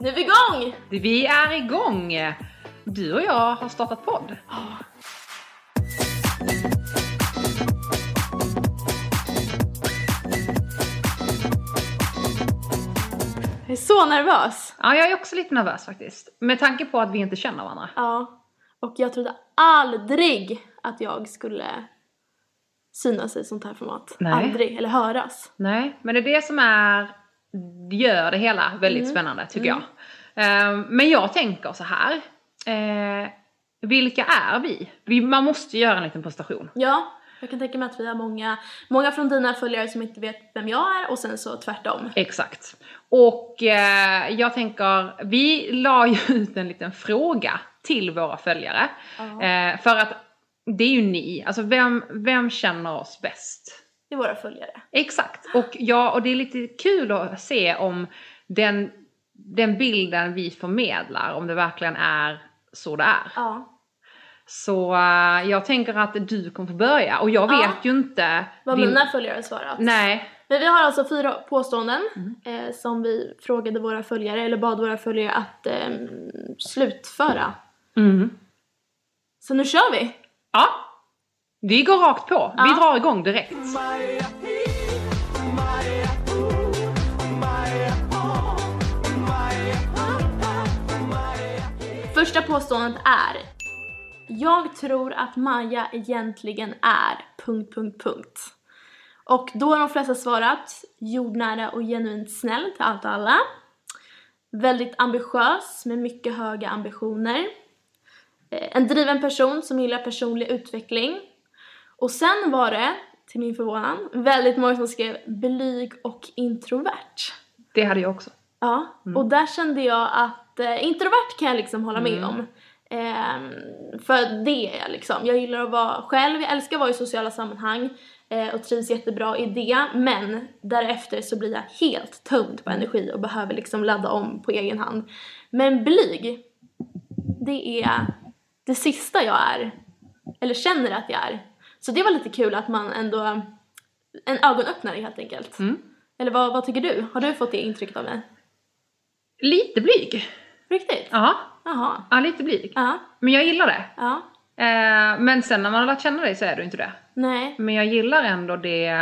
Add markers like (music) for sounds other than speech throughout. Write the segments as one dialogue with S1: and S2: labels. S1: Nu är vi igång!
S2: Vi är igång! Du och jag har startat podd.
S1: Jag är så nervös.
S2: Ja, jag är också lite nervös faktiskt. Med tanke på att vi inte känner varandra.
S1: Ja. Och jag trodde aldrig att jag skulle synas i ett sånt här format.
S2: Nej.
S1: Aldrig. Eller höras.
S2: Nej, men det är det som är, gör det hela väldigt
S1: Mm.
S2: spännande tycker
S1: Mm.
S2: jag. Eh, Men jag tänker så här. eh, Vilka är vi? vi? Man måste göra en liten prestation.
S1: Ja. Jag kan tänka mig att vi har många, många från dina följare som inte vet vem jag är och sen så tvärtom.
S2: Exakt. Och eh, jag tänker, vi la ju (laughs) ut en liten fråga till våra följare.
S1: Ja.
S2: Eh, för att det är ju ni, alltså vem, vem känner oss bäst?
S1: Det är våra följare.
S2: Exakt, och, ja, och det är lite kul att se om den, den bilden vi förmedlar, om det verkligen är så det är.
S1: Ja.
S2: Så eh, jag tänker att du kommer få börja och jag
S1: Ja.
S2: vet ju inte.
S1: Vad
S2: din-
S1: mina följare har svarat.
S2: Nej,
S1: Men vi har alltså fyra påståenden eh, som vi frågade våra följare, eller bad våra följare att eh, slutföra.
S2: Mm.
S1: Så nu kör vi!
S2: Ja, vi går rakt på. Vi
S1: Ja.
S2: drar igång direkt.
S1: Första påståendet är Jag tror att Maja egentligen är... Punkt, punkt, punkt. Och då har de flesta svarat jordnära och genuint snäll till allt och alla. Väldigt ambitiös med mycket höga ambitioner. Eh, En driven person som gillar personlig utveckling. Och sen var det, till min förvånan, väldigt många som skrev blyg och introvert.
S2: Det hade jag också.
S1: Ja,
S2: Mm.
S1: och där kände jag att eh, introvert kan jag liksom hålla med
S2: Mm.
S1: om. Ehm, för det är jag liksom. Jag gillar att vara själv, jag älskar att vara i sociala sammanhang eh, och trivs jättebra i det. Men därefter så blir jag helt tömd på energi och behöver liksom ladda om på egen hand. Men blyg, det är det sista jag är. Eller känner att jag är. Så det var lite kul att man ändå, en ögonöppnare helt enkelt.
S2: Mm.
S1: Eller vad, vad tycker du? Har du fått det intrycket av mig?
S2: Lite blyg.
S1: Riktigt?
S2: Ja,
S1: Jaha.
S2: ja lite blyg.
S1: Ja.
S2: Men jag gillar det.
S1: Ja.
S2: Eh, men sen när man har lärt känna dig så är du inte det.
S1: Nej.
S2: Men jag gillar ändå det,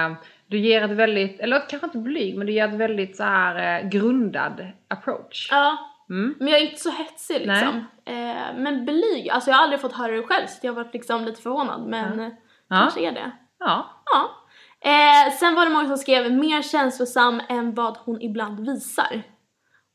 S2: du ger ett väldigt, eller kanske inte blyg, men du ger ett väldigt så här eh, grundad approach.
S1: Ja.
S2: Mm.
S1: Men jag är inte så hetsig liksom. Eh, men blyg. Alltså jag har aldrig fått höra det själv så jag har varit liksom lite förvånad men eh,
S2: Ja.
S1: kanske är det.
S2: ja.
S1: Ja. Eh, sen var det många som skrev mer känslosam än vad hon ibland visar.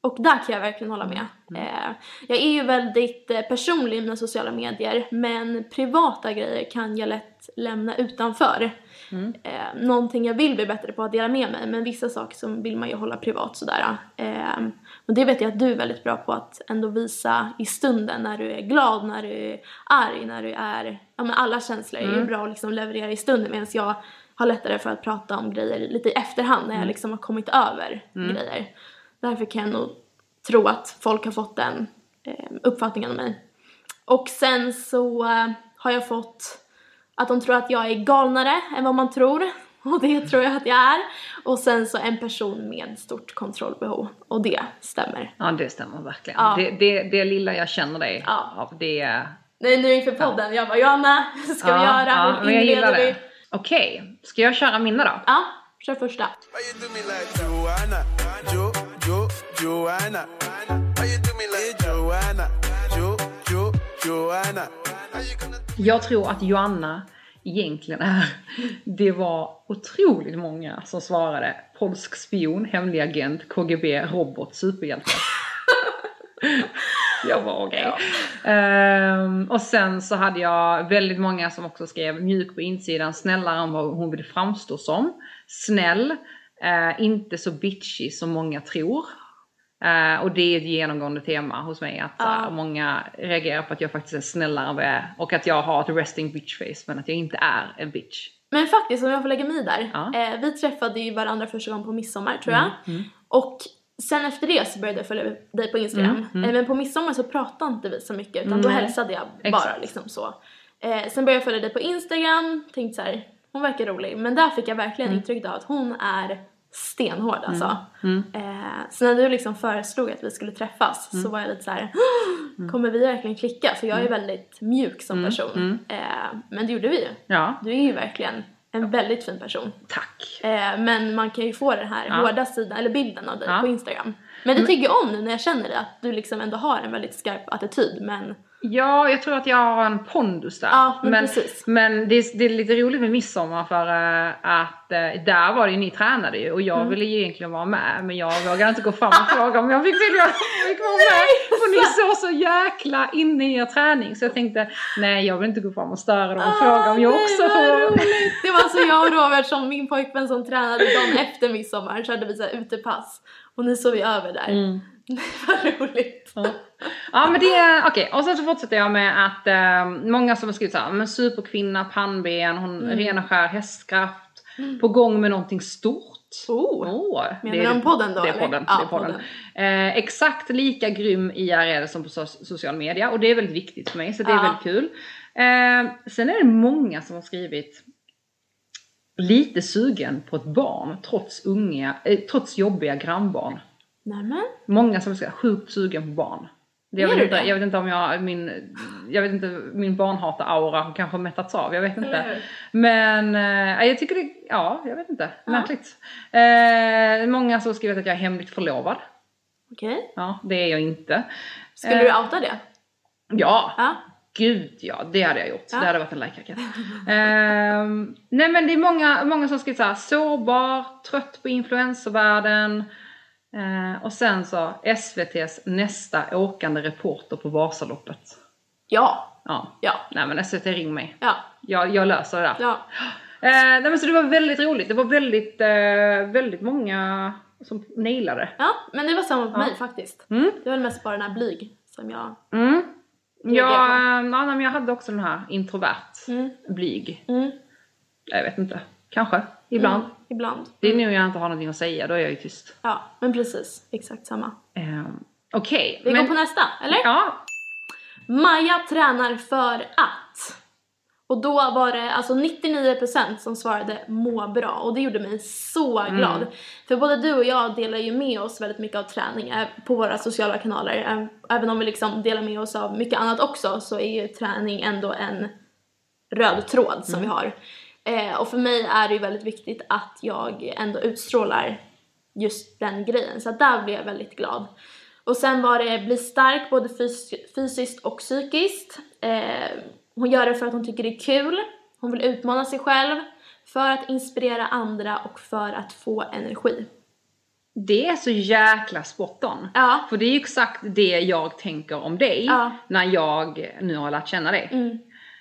S1: Och där kan jag verkligen hålla med.
S2: Mm.
S1: Eh, jag är ju väldigt eh, personlig i mina sociala medier men privata grejer kan jag lätt lämna utanför.
S2: Mm.
S1: Eh, någonting jag vill bli bättre på att dela med mig men vissa saker som vill man ju hålla privat sådär. Eh, och det vet jag att du är väldigt bra på att ändå visa i stunden när du är glad, när du är arg, när du är... Ja men alla känslor är ju
S2: Mm.
S1: bra att liksom leverera i stunden medan jag har lättare för att prata om grejer lite i efterhand när jag liksom har kommit över
S2: Mm.
S1: grejer. Därför kan jag nog tro att folk har fått den eh, uppfattningen om mig. Och sen så eh, har jag fått att de tror att jag är galnare än vad man tror. (laughs) Och det tror jag att jag är. Och sen så en person med stort kontrollbehov. Och det stämmer.
S2: ja, det stämmer verkligen.
S1: Ja.
S2: Det, det, det lilla jag känner dig
S1: Ja.
S2: av, det är...
S1: Nej, nu inför podden. Jag bara, Johanna, (laughs) hur ska vi göra?
S2: Ja,
S1: hur
S2: men jag gillar
S1: inleder vi?
S2: det. Okej, ska jag köra mina då?
S1: Ja, kör första.
S3: Why you do me like Joanna? Jo, Jo, Joanna. Why you do me like Joanna? Jo, Jo, Joanna. How you gonna
S2: Jag tror att Joanna egentligen är... Det var otroligt många som svarade polsk spion, hemlig agent, KGB, robot, superhjälte. jag var okej. Ehm, och sen så hade jag väldigt många som också skrev mjuk på insidan, snällare än vad hon vill framstå som. Snäll, eh, inte så bitchy som många tror. Eh, och det är ett genomgående tema hos mig att så här,
S1: Ja.
S2: många reagerar på att jag faktiskt är snällare än vad jag är och att jag har ett resting bitch face men att jag inte är en bitch.
S1: Men faktiskt, om jag får lägga mig i där.
S2: Ja.
S1: Eh, vi träffade ju varandra första gången på midsommar tror jag.
S2: Mm.
S1: Och sen efter det så började jag följa dig på Instagram.
S2: Mm, mm.
S1: Eh, men på midsommar så pratade inte vi så mycket utan då
S2: Nej.
S1: hälsade jag bara
S2: Exakt.
S1: liksom så. Eh, sen började jag följa dig på Instagram, tänkte så här, hon verkar rolig. Men där fick jag verkligen intrycket av att hon är stenhård alltså.
S2: Mm.
S1: Eh, så när du liksom föreslog att vi skulle träffas
S2: Mm.
S1: så var jag lite så här: kommer vi verkligen klicka? För jag är väldigt mjuk som person.
S2: mm.
S1: Eh, men det gjorde vi ju.
S2: Ja,
S1: Du är ju verkligen en väldigt fin person.
S2: tack.
S1: Eh, men man kan ju få den här
S2: Ja.
S1: hårda sidan, eller bilden av dig
S2: Ja. Mm.
S1: på Instagram. Men det tycker jag om nu när jag känner det, att du liksom ändå har en väldigt skarp attityd men
S2: Ja, jag tror att jag har en pondus där.
S1: Ja, men precis.
S2: men det, är, det är lite roligt med midsommar för eh, att eh, där var det ju, ni tränade ju och jag
S1: Mm.
S2: ville ju egentligen vara med men jag vågade inte gå fram och fråga om jag fick följa fick vara med. Och ni såg så jäkla inne i er träning så jag tänkte nej jag vill inte gå fram och störa dem och fråga om jag
S1: Ah, nej,
S2: också
S1: vad
S2: får vara med.
S1: roligt. Det var alltså jag och Robert som min pojkvän som tränade dagen efter midsommar körde vi så här utepass och nu sov vi över där.
S2: Mm.
S1: (laughs) Vad roligt.
S2: Ja. Ja men det är okej och sen så fortsätter jag med att eh, många som har skrivit såhär, men superkvinna, pannben, hon
S1: Mm.
S2: ren och skär hästkraft, på gång med någonting stort.
S1: Oh.
S2: Åh,
S1: Menar du om podden då,
S2: Det är
S1: eller?
S2: podden.
S1: Ja,
S2: det är podden. Eh, exakt lika grym IRL som på so social media och det är väldigt viktigt för mig så det är
S1: Ja.
S2: väldigt kul. Eh, sen är det många som har skrivit lite sugen på ett barn trots, unga, eh, trots jobbiga grannbarn.
S1: Nämen.
S2: Många som ska sjukt sugen på barn. Det jag,
S1: Är
S2: vet
S1: du
S2: inte,
S1: det?
S2: jag vet inte om jag, min, jag vet inte, min barnhatar-aura har kanske mättats av, jag vet
S1: Eller
S2: inte.
S1: hur?
S2: Men eh, jag tycker det, ja jag vet inte,
S1: Ja.
S2: märkligt. Eh, många som har skrivit att jag är hemligt förlovad.
S1: Okej.
S2: Ja, det är jag inte.
S1: Skulle
S2: Eh,
S1: du outa det?
S2: Ja,
S1: Ja.
S2: gud ja, det hade jag gjort.
S1: Ja.
S2: Det hade varit en lajkraket. Ehm, nej men det är många, många som skrivit såhär sårbar, trött på influencervärlden. Eh, och sen så SVT's nästa åkande reporter på Vasaloppet.
S1: Ja.
S2: Ja,
S1: Ja.
S2: nej men SVT ring mig.
S1: Ja.
S2: Jag, jag löser det där.
S1: Ja.
S2: Eh, nej men så det var väldigt roligt. Det var väldigt, eh, väldigt många som nailade.
S1: Ja. Men det var samma på
S2: Ja.
S1: mig faktiskt.
S2: Mm.
S1: Det var mest bara den här blyg som jag...
S2: Mm.
S1: är
S2: Jag,
S1: det.
S2: ja, nej, men jag hade också den här introvert,
S1: Mm.
S2: blyg.
S1: Mm.
S2: Jag vet inte. Kanske. Ibland.
S1: Mm. Ibland.
S2: Det är nu jag inte har någonting att säga, då är jag ju tyst.
S1: Ja. Men precis. Exakt samma.
S2: Ehm, Okej.
S1: Vi
S2: men-
S1: går på nästa, eller?
S2: Ja.
S1: Maja tränar för att. Och då var det alltså 99% som svarade må bra och det gjorde mig så
S2: Mm.
S1: glad. För både du och jag delar ju med oss väldigt mycket av träning eh, på våra sociala kanaler. Äm, Även om vi liksom delar med oss av mycket annat också så är ju träning ändå en röd tråd som vi har. Eh, och för mig är det ju väldigt viktigt att jag ändå utstrålar just den grejen. Så att där blev jag väldigt glad. Och sen var det bli stark både fys- fysiskt och psykiskt. Eh, hon gör det för att hon tycker det är kul. Hon vill utmana sig själv. För att inspirera andra och för att få energi.
S2: Det är så jäkla spot on.
S1: Ja.
S2: För det är ju exakt det jag tänker om dig
S1: Ja.
S2: när jag nu har lärt känna dig.
S1: Mm.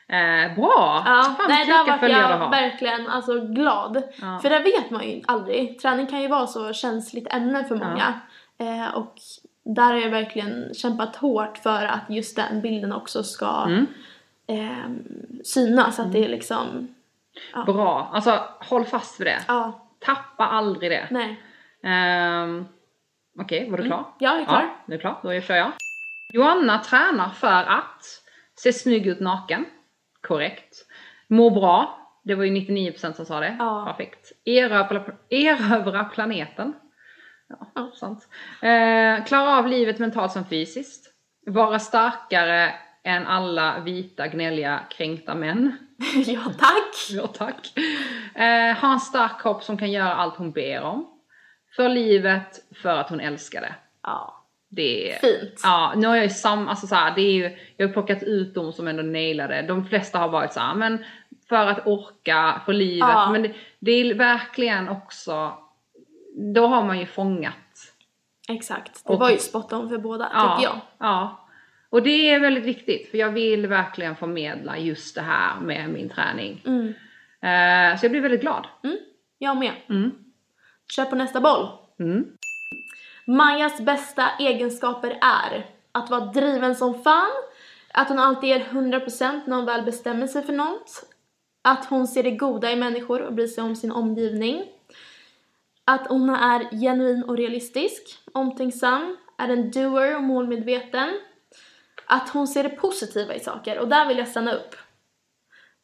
S2: Eh, bra!
S1: Ja,
S2: Fan
S1: nej,
S2: vilka
S1: där var
S2: följare du
S1: jag
S2: har.
S1: verkligen alltså, glad.
S2: Ja.
S1: För det vet man ju aldrig. Träning kan ju vara så känsligt ämne för många. Eh, och där har jag verkligen kämpat hårt för att just den bilden också ska
S2: Mm.
S1: ehm, synas. Att det är liksom,
S2: Bra! Alltså håll fast vid det.
S1: ja,
S2: Tappa aldrig det.
S1: nej. (laughs)
S2: Ehm, Okej, var du klar?
S1: Mm. Jag är klar.
S2: Ja, nu är jag klar. Då kör jag. Joanna tränar för att se snygg ut naken. Korrekt. Må bra. Det var ju 99% som sa det.
S1: Ja.
S2: Perfekt. Erövra, erövra planeten. Ja,
S1: Ja.
S2: sant. Eh, klara av livet mentalt som fysiskt. Vara starkare än alla vita, gnälliga, kränkta män.
S1: Ja, tack!
S2: (laughs) Ja, tack. Eh, ha en stark kropp som kan göra allt hon ber om. För livet, för att hon älskar det.
S1: Ja,
S2: Det är...
S1: fint.
S2: Ja, nu har jag ju sam, alltså så här, det är ju, jag har plockat ut de som ändå nailade. De flesta har varit så här, men för att orka, för livet.
S1: Ja.
S2: Men det, det är verkligen också, då har man ju fångat.
S1: Exakt. Det
S2: Och-
S1: var ju spot on för båda,
S2: Ja,
S1: tycker jag.
S2: ja. Och det är väldigt viktigt för jag vill verkligen förmedla just det här med min träning.
S1: Mm.
S2: Eh, så jag blir väldigt glad.
S1: Mm. Jag med.
S2: Mm.
S1: Kör på nästa boll.
S2: Mm.
S1: Majas bästa egenskaper är att vara driven som fan, att hon alltid ger 100% när hon väl bestämmer sig för något, att hon ser det goda i människor och bryr sig om sin omgivning, att hon är genuin och realistisk, omtänksam, är en doer och målmedveten, att hon ser det positiva i saker och där vill jag stanna upp. (laughs)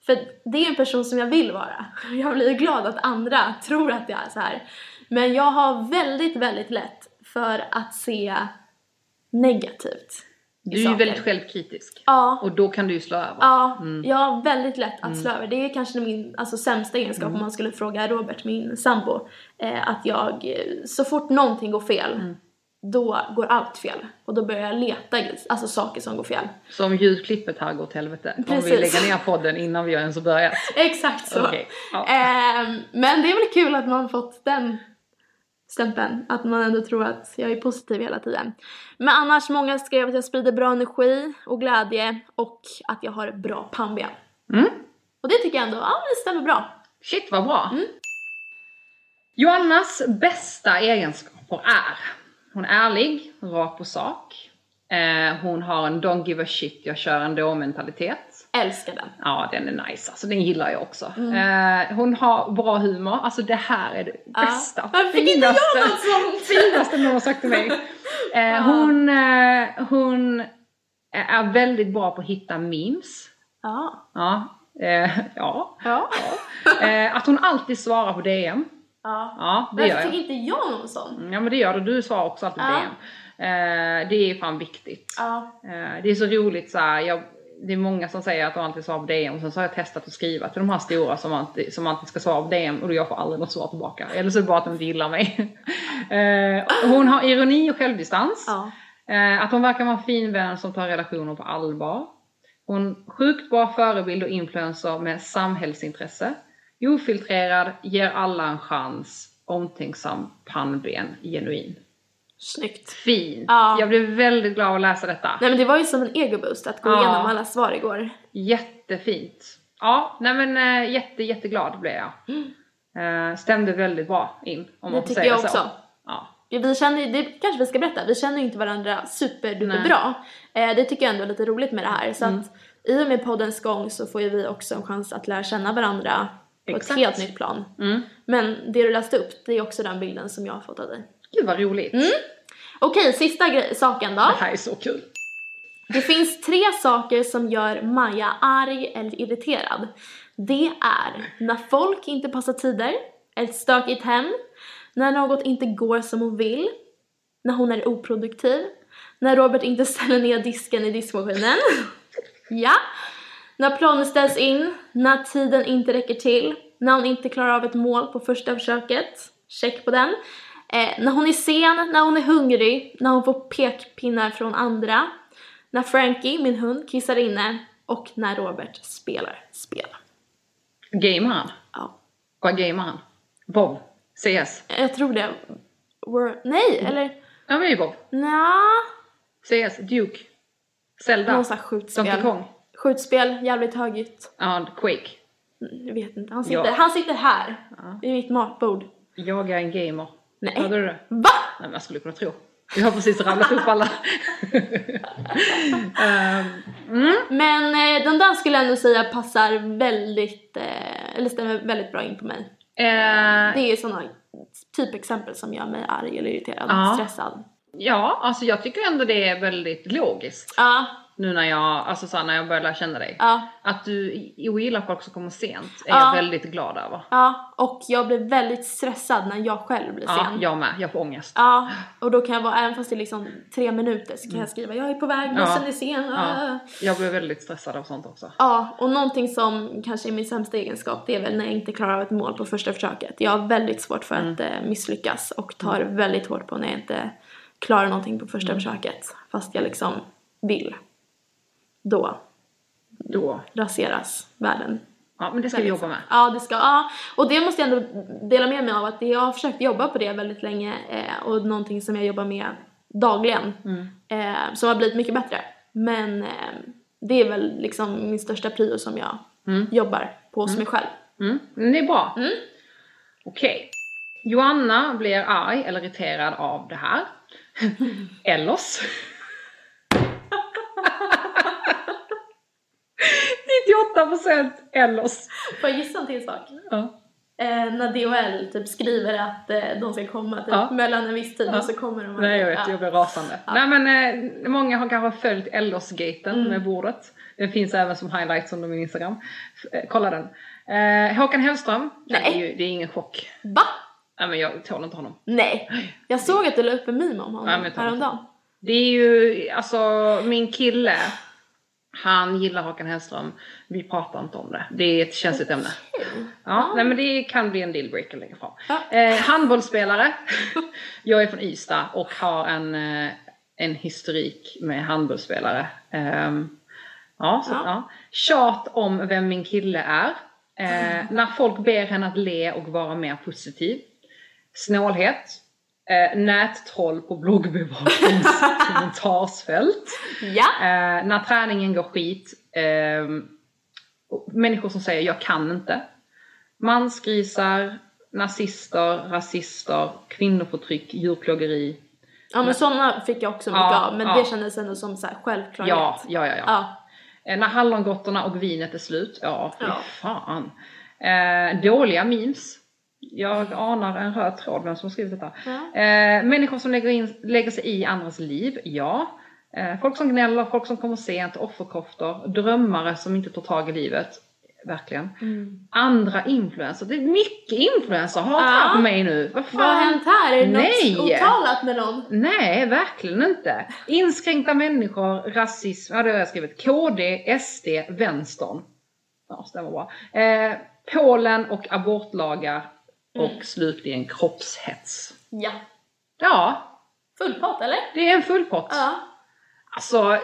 S1: För det är en person som jag vill vara. Jag blir ju glad att andra tror att jag är så här. Men jag har väldigt, väldigt lätt för att se negativt. i
S2: Du är ju
S1: saker.
S2: väldigt självkritisk.
S1: Ja,
S2: Och då kan du ju slå över.
S1: ja
S2: Mm.
S1: jag har väldigt lätt att slå över. Det är kanske min alltså, sämsta egenskap
S2: Mm.
S1: om man skulle fråga Robert, min sambo. Eh, att jag, eh, så fort någonting går fel,
S2: Mm.
S1: då går allt fel. Och då börjar jag leta alltså, saker som går fel. (laughs)
S2: Så om ljudklippet här går åt helvete kommer vi
S1: Precis.
S2: lägga ner podden innan vi har ens börjat.
S1: Exakt så.
S2: Okej, ja.
S1: Ehm, men det är väl kul att man fått den stämpeln. Att man ändå tror att jag är positiv hela tiden. Men annars, många skrev att jag sprider bra energi och glädje och att jag har bra pannben.
S2: Mm.
S1: Och det tycker jag ändå, ja det stämmer bra.
S2: Shit vad bra!
S1: Mm.
S2: Joannas bästa egenskaper är Hon är ärlig, rakt på sak eh, Hon har en don't give a shit, jag kör ändå mentalitet
S1: Älskar den.
S2: Ja den är nice alltså, den gillar jag också
S1: Mm.
S2: eh, Hon har bra humor, alltså det här är det bästa
S1: Varför fick inte jag
S2: finaste-
S1: något
S2: (laughs)
S1: sånt?
S2: finaste någon har sagt
S1: (laughs)
S2: till mig eh, Hon, eh, hon är väldigt bra på att hitta memes
S1: Ja.
S2: Ja, eh, (laughs) ja.
S1: Ja.
S2: Eh, att hon alltid svarar på DM.
S1: ja.
S2: Ja, det gör
S1: Varför fick
S2: jag.
S1: inte jag någon sån?
S2: Ja, men det gör du. Du svarar också alltid på
S1: Ja.
S2: DM. Eh, det är fan viktigt.
S1: Ja.
S2: Eh, det är så roligt så här, jag, det är många som säger att de alltid svarar på DM och sen så har jag testat att skriva till de här stora som alltid, som alltid ska svara på DM och jag får aldrig något svar tillbaka. Eller så är det bara att de inte gillar mig. (laughs) Eh, hon har ironi och självdistans.
S1: Ja.
S2: Eh, att hon verkar vara en fin vän som tar relationer på allvar. Hon sjukt bra förebild och influencer med samhällsintresse. Ofiltrerad, ger alla en chans. Omtänksam, pannben, genuin.
S1: Snyggt.
S2: Fin!
S1: Ja.
S2: Jag blev väldigt glad att läsa detta.
S1: Nej men det var ju som en egoboost att gå
S2: Ja.
S1: igenom alla svar igår.
S2: Jättefint! Ja, nej men eh, jätte, jättegglad blev jag. Eh, stämde väldigt bra in, om man
S1: Mm. Det
S2: får
S1: tycker
S2: säga
S1: jag
S2: så.
S1: också.
S2: Ja.
S1: Ja, Vi känner, ju- det kanske vi ska berätta, vi känner ju inte varandra superduperbra. Eh, det tycker jag ändå är lite roligt med det här. Så
S2: Mm.
S1: att i och med poddens gång så får ju vi också en chans att lära känna varandra på ett
S2: Exakt.
S1: helt nytt plan.
S2: Mm.
S1: Men det du läste upp, det är också den bilden som jag har fått av dig.
S2: Gud vad roligt!
S1: Mm. Okej, sista grej, saken då.
S2: Det här är så kul!
S1: Det finns tre saker som gör Maja arg eller irriterad. Det är när folk inte passar tider, ett stökigt hem, när något inte går som hon vill, när hon är oproduktiv, när Robert inte (laughs) ställer ner disken i diskmaskinen, (laughs) ja, när planer ställs in, när tiden inte räcker till, när hon inte klarar av ett mål på första försöket, check på den, eh, när hon är sen, när hon är hungrig, när hon får pekpinnar från andra, när Frankie, min hund, kissar inne och när Robert spelar spel.
S2: Gamer han?
S1: Ja.
S2: Vad gamer han? Bob? CS?
S1: Jag tror det. Wor- Nej,
S2: Mm.
S1: eller
S2: Ja men det är Bob.
S1: nja.
S2: CS, Duke, Zelda,
S1: Någon sån här skjutspel.
S2: Donkey Kong,
S1: Skjutspel, jävligt högljutt.
S2: ja, Quake.
S1: Mm, Jag vet inte. Han sitter,
S2: Ja.
S1: han sitter här.
S2: Ja.
S1: Vid mitt matbord.
S2: Jag är en gamer.
S1: Nej.
S2: Hörde du det? Nej
S1: Va?
S2: men jag skulle kunna tro. Jag har precis ramlat upp
S1: (laughs)
S2: alla. Ehm, mm.
S1: Men eh, den där skulle jag ändå säga passar väldigt, eh, eller stämmer väldigt bra in på mig. Det
S2: Eh,
S1: är sådana typexempel som gör mig arg eller irriterad,
S2: Ja.
S1: stressad.
S2: ja, alltså jag tycker ändå det är väldigt logiskt.
S1: Ja,
S2: Nu när jag, alltså så här, när jag börjar lära känna dig.
S1: ja.
S2: Att du ogillar folk som kommer sent är
S1: Ja.
S2: jag väldigt glad över.
S1: Ja, och jag blir väldigt stressad när jag själv blir
S2: Ja,
S1: sen.
S2: jag med. Jag får ångest.
S1: Ja, och då kan jag vara, även fast det är liksom tre minuter så kan jag skriva jag är på väg, bussen
S2: Mm. Ja.
S1: är sen.
S2: Ja,
S1: Ja.
S2: jag blir väldigt stressad av sånt också.
S1: ja, och någonting som kanske är min sämsta egenskap det är väl när jag inte klarar av ett mål på första försöket. Jag har väldigt svårt för
S2: Mm.
S1: att eh, misslyckas och tar väldigt hårt på när jag inte klarar någonting på första
S2: Mm.
S1: försöket. Fast jag liksom vill. Då
S2: Då.
S1: raseras världen.
S2: Ja, men det ska vi jobba med.
S1: Ja, det ska, ja. Och det måste jag ändå dela med mig av att jag har försökt jobba på det väldigt länge eh, och någonting som jag jobbar med dagligen
S2: Mm.
S1: eh, som har blivit mycket bättre. Men eh, det är väl liksom min största prio som jag jobbar på hos mig själv.
S2: Mm, men det är bra. Okej. Joanna blir arg eller irriterad av det (laughs) här. Ellers. procent ellers.
S1: Får jag gissa en till sak?
S2: Ja.
S1: Eh, när DHL typ skriver att eh, de ska komma typ
S2: Ja.
S1: mellan en viss tid
S2: Ja.
S1: och så kommer de.
S2: Nej jag vet,
S1: ja.
S2: jag blir rasande. Nej men eh, många har kanske följt Ellers-gaten med bordet. Den finns även som highlights under min Instagram. F- eh, kolla den. Eh, Håkan Hellström.
S1: Nej.
S2: Det, är ju, det är ingen chock.
S1: Va?
S2: Nej men jag tål inte honom.
S1: Nej. Jag såg att du la upp en meme om
S2: Ja,
S1: honom
S2: men jag tar
S1: häromdagen.
S2: Det är ju, alltså min kille, han gillar Håkan Hellström. Vi pratar inte om det. Det är ett känsligt ämne. Ja, nej men det kan bli en dealbreaker längre fram.
S1: Ja.
S2: Eh, handbollsspelare. Jag är från Ystad och har en, eh, en historik med handbollsspelare. Ehm, ja, så,
S1: Ja.
S2: ja. Tjat om vem min kille är. Eh, när folk ber henne att le och vara mer positiv. Snålhet. Eh, nättroll på bloggbevakningens kommentarsfält.
S1: Ja.
S2: Eh, när träningen går skit. ehm, och människor som säger jag kan inte. Mansgrisar, nazister, rasister, kvinnoförtryck, djurplågeri.
S1: Ja men sådana fick jag också mycket
S2: Ja,
S1: av men
S2: ja.
S1: det kändes ändå som så här självklarhet.
S2: Ja, ja, ja. ja.
S1: Ja.
S2: Eh, när hallongottorna och vinet är slut. Ja, fy
S1: Ja.
S2: fan. Eh, dåliga memes. Jag anar en röd tråd vem som har skrivit detta.
S1: Ja.
S2: Eh, människor som lägger, in, lägger sig i andras liv, ja. Eh, folk som gnäller, folk som kommer sent, offerkoftor, drömmare som inte tar tag i livet. Verkligen.
S1: Mm.
S2: Andra influencers. Det är mycket influencers. Har inte
S1: Ja.
S2: här på mig nu. Vad
S1: Vad har
S2: fan?
S1: hänt här? Är det
S2: Nej.
S1: något otalat med någon?
S2: Nej, verkligen inte. Inskränkta människor, rasism, ja det har jag skrivit. KD, SD, vänstern. Ja, stämmer bra. Eh, Polen och abortlagar.
S1: Mm.
S2: Och slutligen kroppshets.
S1: Ja.
S2: Ja,
S1: Full pott eller?
S2: det är en full pott.
S1: Ja.
S2: Alltså,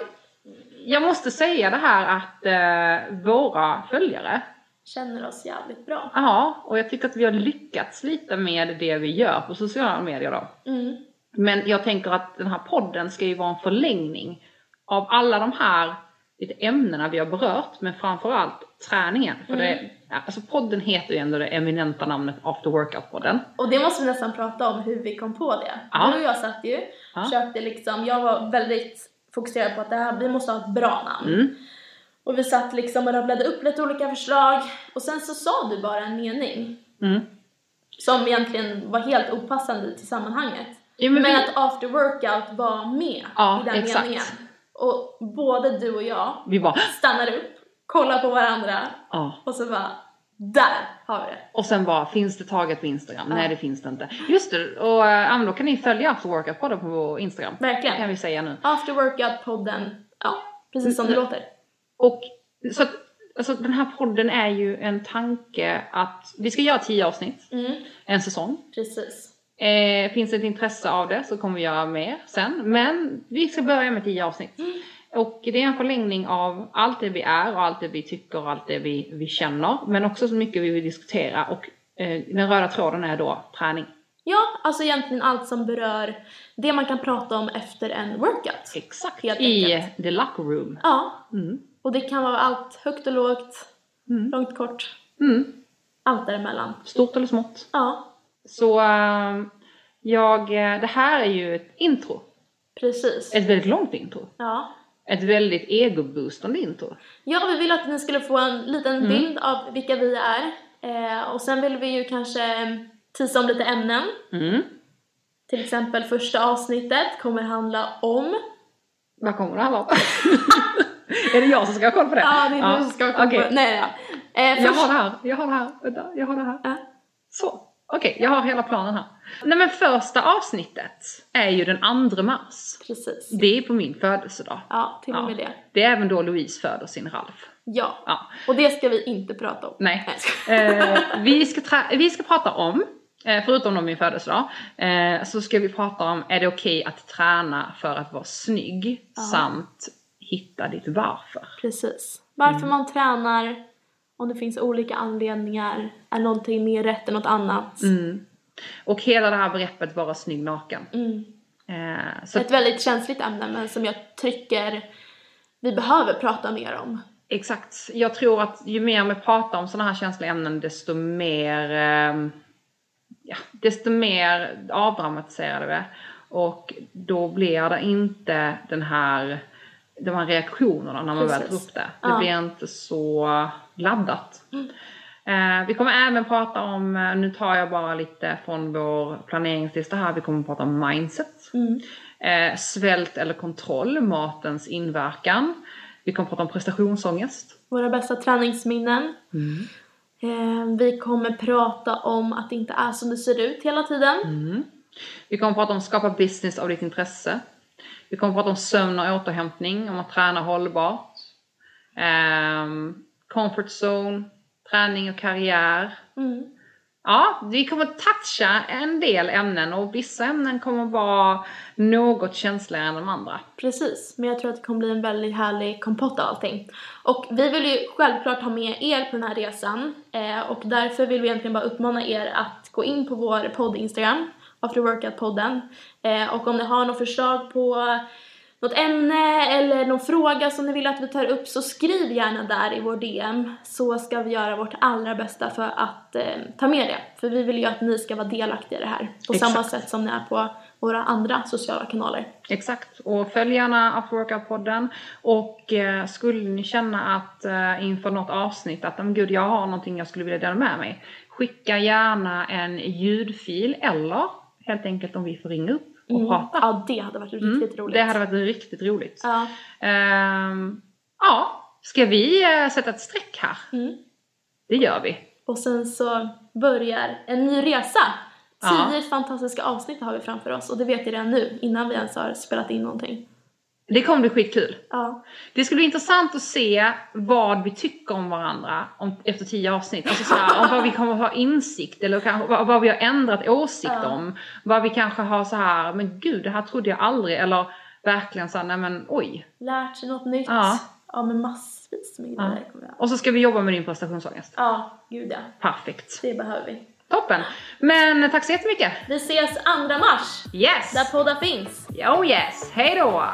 S2: jag måste säga det här att eh, våra följare,
S1: Känner oss jävligt bra.
S2: ja, och jag tycker att vi har lyckats lite med det vi gör på sociala medier då.
S1: Mm.
S2: Men jag tänker att den här podden ska ju vara en förlängning av alla de här lite ämnena vi har berört, men framförallt träningen. För det, alltså podden heter ju ändå det eminenta namnet After Workout-podden.
S1: Och det måste vi nästan prata om hur vi kom på det.
S2: Ja.
S1: Du och jag satt ju,
S2: Ja.
S1: försökte liksom, jag var väldigt fokuserad på att det här, vi måste ha ett bra namn.
S2: Mm.
S1: Och vi satt liksom och rabblade upp lite olika förslag och sen så sa du bara en mening
S2: Mm.
S1: som egentligen var helt opassande till sammanhanget.
S2: Ja,
S1: Men,
S2: men vi-
S1: att after workout var med
S2: Ja,
S1: i den
S2: exakt.
S1: meningen. Och både du och jag
S2: Vi bara,
S1: stannar upp, kollar på varandra
S2: ja.
S1: och så bara där har vi det.
S2: Och sen bara, finns det taget på Instagram? Nej det finns det inte. Just det, och äh, men då kan ni följa After Workout-podden på vår Instagram.
S1: Verkligen.
S2: Kan vi säga nu.
S1: After workout-podden, ja precis som det
S2: Mm.
S1: låter.
S2: Och så att, alltså, den här podden är ju en tanke att vi ska göra tio avsnitt,
S1: Mm,
S2: en säsong.
S1: precis.
S2: Eh, finns det ett intresse av det så kommer vi göra mer sen. Men vi ska börja med tio avsnitt. Och det är en förlängning av allt det vi är och allt det vi tycker och allt det vi, vi känner. Men också så mycket vi vill diskutera och eh, den röda tråden är då träning.
S1: Ja, alltså egentligen allt som berör det man kan prata om efter en workout.
S2: Exakt.
S1: Helt
S2: I
S1: enkelt.
S2: the locker room.
S1: Ja,
S2: Mm.
S1: och det kan vara allt högt och lågt,
S2: Mm.
S1: långt, kort,
S2: Mm.
S1: allt däremellan.
S2: Stort eller smått.
S1: Ja,
S2: Så eh, jag, eh, det här är ju ett intro.
S1: precis.
S2: Ett väldigt långt intro.
S1: Ja.
S2: Ett väldigt egoboostande intro.
S1: ja, vi vill att ni skulle få en liten
S2: Mm.
S1: bild av vilka vi är. Eh, och sen vill vi ju kanske eh, tisa om lite ämnen.
S2: Mm.
S1: Till exempel första avsnittet kommer handla om...
S2: Vad kommer det handla om? (laughs) är det jag som ska ha koll på det?
S1: Ja, det är du som ska komma
S2: okej.
S1: på... Nej, nej. Eh,
S2: Jag
S1: först...
S2: har det här, jag har det här, vänta, jag har det här.
S1: Ja.
S2: Så, okej, jag har hela planen här. Nej men första avsnittet är ju den 2 mars.
S1: Precis.
S2: Det är på min födelsedag.
S1: Ja, till och med det.
S2: Det är även då Louise föder sin Ralf.
S1: Ja.
S2: Ja.
S1: Och det ska vi inte prata om.
S2: Nej.
S1: jag skojar.
S2: Eh, vi, ska tra- vi ska prata om, eh, förutom om min födelsedag, eh, så ska vi prata om är det okej att träna för att vara snygg
S1: Ja.
S2: samt hitta ditt varför.
S1: (laughs) Precis. Varför
S2: Mm.
S1: man tränar, om det finns olika anledningar, är någonting mer rätt än något annat.
S2: Mm. Och hela det här begreppet vara snygg naken.
S1: Mm.
S2: Eh, så
S1: Ett väldigt känsligt ämne men som jag tycker vi behöver prata mer om.
S2: Exakt. Jag tror att ju mer man pratar om sådana här känsliga ämnen desto mer ehm, ja, desto mer avdramatiserade vi är. Och då blir det inte den här de här reaktionerna när man väl tar
S1: Precis.
S2: upp det. Det
S1: Ja. Mm.
S2: blir inte så laddat. Eh, vi kommer även prata om, eh, nu tar jag bara lite från vår planeringslista här, vi kommer prata om mindset.
S1: Mm.
S2: Eh, svält eller kontroll, matens inverkan. Vi kommer prata om prestationsångest.
S1: Våra bästa träningsminnen. Eh, vi kommer prata om att det inte är som det ser ut hela tiden.
S2: Vi kommer prata om skapa business av ditt intresse. Vi kommer prata om sömn och återhämtning, om att träna hållbart. Ehm, comfort zone, träning och karriär.
S1: Mm.
S2: Ja, vi kommer toucha en del ämnen och vissa ämnen kommer vara något känsligare än de andra.
S1: Precis, men jag tror att det kommer bli en väldigt härlig kompott av allting. Och vi vill ju självklart ha med er på den här resan eh, och därför vill vi egentligen bara uppmana er att gå in på vår podd Instagram, After Workout-podden. Eh, och om ni har något förslag på något ämne eller någon fråga som ni vill att vi tar upp så skriv gärna där i vår DM så ska vi göra vårt allra bästa för att eh, ta med det. För vi vill ju att ni ska vara delaktiga i det här på samma
S2: Exakt.
S1: sätt som ni är på våra andra sociala kanaler.
S2: Exakt, och följ gärna Upworkout-podden. Och eh, skulle ni känna att eh, inför något avsnitt att "Men gud, jag har någonting jag skulle vilja dela med mig. Skicka gärna en ljudfil eller helt enkelt om vi får ringa upp och prata.
S1: Mm.
S2: Mm.
S1: Ja, det hade varit riktigt roligt.
S2: Det hade varit riktigt roligt.
S1: Ja.
S2: Ehm, ja, ska vi eh, sätta ett streck här?
S1: Mm.
S2: Det gör vi.
S1: Och sen så börjar en ny resa.
S2: Ja.
S1: Tio fantastiska avsnitt har vi framför oss och det vet jag redan nu innan vi ens har spelat in någonting.
S2: Det kommer bli skitkul.
S1: Ja,
S2: Det skulle bli intressant att se vad vi tycker om varandra om, efter tio avsnitt. Alltså så här, om vad vi kommer ha insikt eller kanske, vad, vad vi har ändrat åsikt
S1: Ja.
S2: om. Vad vi kanske har så här, men gud det här trodde jag aldrig. Eller verkligen så här, nej men oj.
S1: lärt sig något nytt.
S2: Ja.
S1: ja men massvis med grejer
S2: Ja.
S1: kommer jag.
S2: Och så ska vi jobba med din prestationsångest.
S1: Ja, gud ja.
S2: Perfekt.
S1: Det behöver vi.
S2: Toppen. Men tack så jättemycket.
S1: Vi ses 2 mars,
S2: Yes!
S1: där poddar finns.
S2: Oh yes! Hej då!